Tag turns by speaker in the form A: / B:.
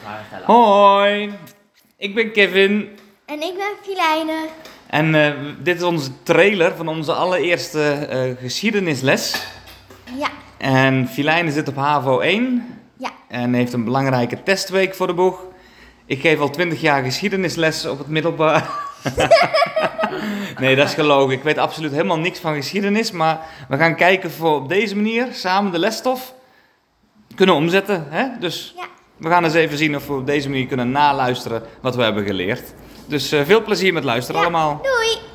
A: vragen stellen.
B: Hoi, ik ben Kevin
C: En ik ben Filijne.
B: en eh, dit is onze trailer van onze allereerste eh, geschiedenisles.
C: Ja,
B: En Filijne zit op HAVO 1
C: ja,
B: en heeft een belangrijke testweek voor de boeg. Ik geef al 20 jaar geschiedenisles op het middelbaar. nee, dat is gelogen. Ik weet absoluut helemaal niks van geschiedenis. Maar we gaan kijken voor op deze manier samen de lesstof kunnen omzetten. Hè? Dus
C: ja.
B: We gaan eens even zien of we op deze manier kunnen naluisteren wat we hebben geleerd. Dus eh, veel plezier met luisteren
C: Ja.
B: allemaal.
C: Doei.